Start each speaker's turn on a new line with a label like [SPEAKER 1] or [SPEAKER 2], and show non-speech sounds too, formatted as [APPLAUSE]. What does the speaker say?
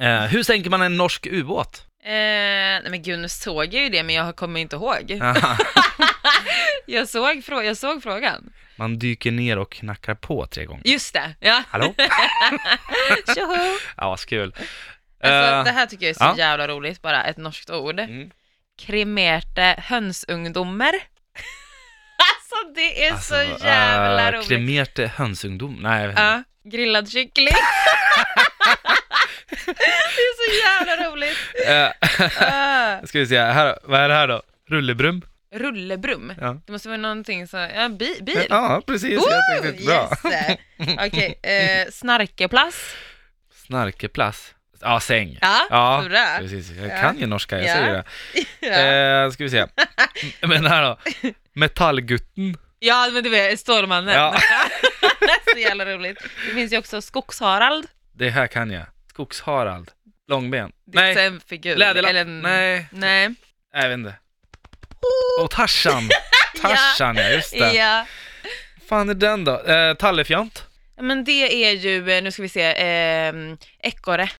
[SPEAKER 1] Eh, hur sänker man en norsk ubåt?
[SPEAKER 2] Eh, nej men gud, nu såg jag ju det, men jag kommer inte ihåg.
[SPEAKER 1] Aha.
[SPEAKER 2] Jag såg, frå- jag såg frågan.
[SPEAKER 1] Man dyker ner och knackar på tre gånger.
[SPEAKER 2] Just det, ja.
[SPEAKER 1] Hallå?
[SPEAKER 2] [LAUGHS] Tjoho!
[SPEAKER 1] Ja, vad kul.
[SPEAKER 2] [LAUGHS] Alltså,
[SPEAKER 1] Eh,
[SPEAKER 2] det här tycker jag är så
[SPEAKER 1] ja.
[SPEAKER 2] jävla roligt, bara ett norskt ord.
[SPEAKER 1] Mm.
[SPEAKER 2] Kremerte hönsungdomar. [LAUGHS] alltså det är så
[SPEAKER 1] alltså,
[SPEAKER 2] jävla
[SPEAKER 1] eh,
[SPEAKER 2] roligt.
[SPEAKER 1] Kremerte hönsungdom. Nej, jag vet inte.
[SPEAKER 2] Ja, grillad kyckling. [LAUGHS] det är så
[SPEAKER 1] [LAUGHS]
[SPEAKER 2] jävla roligt.
[SPEAKER 1] Eh,
[SPEAKER 2] Ah.
[SPEAKER 1] ska vi se, här, vad är det här då? Rullebrum?
[SPEAKER 2] rullebrum.
[SPEAKER 1] Ja.
[SPEAKER 2] Det måste vara någonting som, ja, bi, bil.
[SPEAKER 1] Ja, precis. jag
[SPEAKER 2] Woo!
[SPEAKER 1] tänkte bra.
[SPEAKER 2] Yes!
[SPEAKER 1] [LAUGHS]
[SPEAKER 2] Okej, eh, snarkeplass.
[SPEAKER 1] Snarkeplass. Ja, säng.
[SPEAKER 2] Ja,
[SPEAKER 1] Ja,
[SPEAKER 2] hurra.
[SPEAKER 1] precis. Jag
[SPEAKER 2] Ja.
[SPEAKER 1] kan ju norska, jag
[SPEAKER 2] Ja.
[SPEAKER 1] säger det.
[SPEAKER 2] [LAUGHS] Ja.
[SPEAKER 1] Eh, ska vi
[SPEAKER 2] [LAUGHS]
[SPEAKER 1] se. Men här då. Metallgutten.
[SPEAKER 2] ja, men du vet, Stålmannen.
[SPEAKER 1] Ja.
[SPEAKER 2] [LAUGHS] så jävla roligt. Det finns ju också Skogsharald.
[SPEAKER 1] Det här kan jag. Skogsharald. Långben.
[SPEAKER 2] Det är också
[SPEAKER 1] Nej.
[SPEAKER 2] en figur.
[SPEAKER 1] Läderlapp.
[SPEAKER 2] Eller en...
[SPEAKER 1] Nej.
[SPEAKER 2] Nej.
[SPEAKER 1] Nej, jag vet inte. Och Tarzan. Tarzan, ja. Just det.
[SPEAKER 2] Ja.
[SPEAKER 1] fan är den då? Eh, tallefjant.
[SPEAKER 2] Men det är ju, eh, nu ska vi se, eh, ekorre.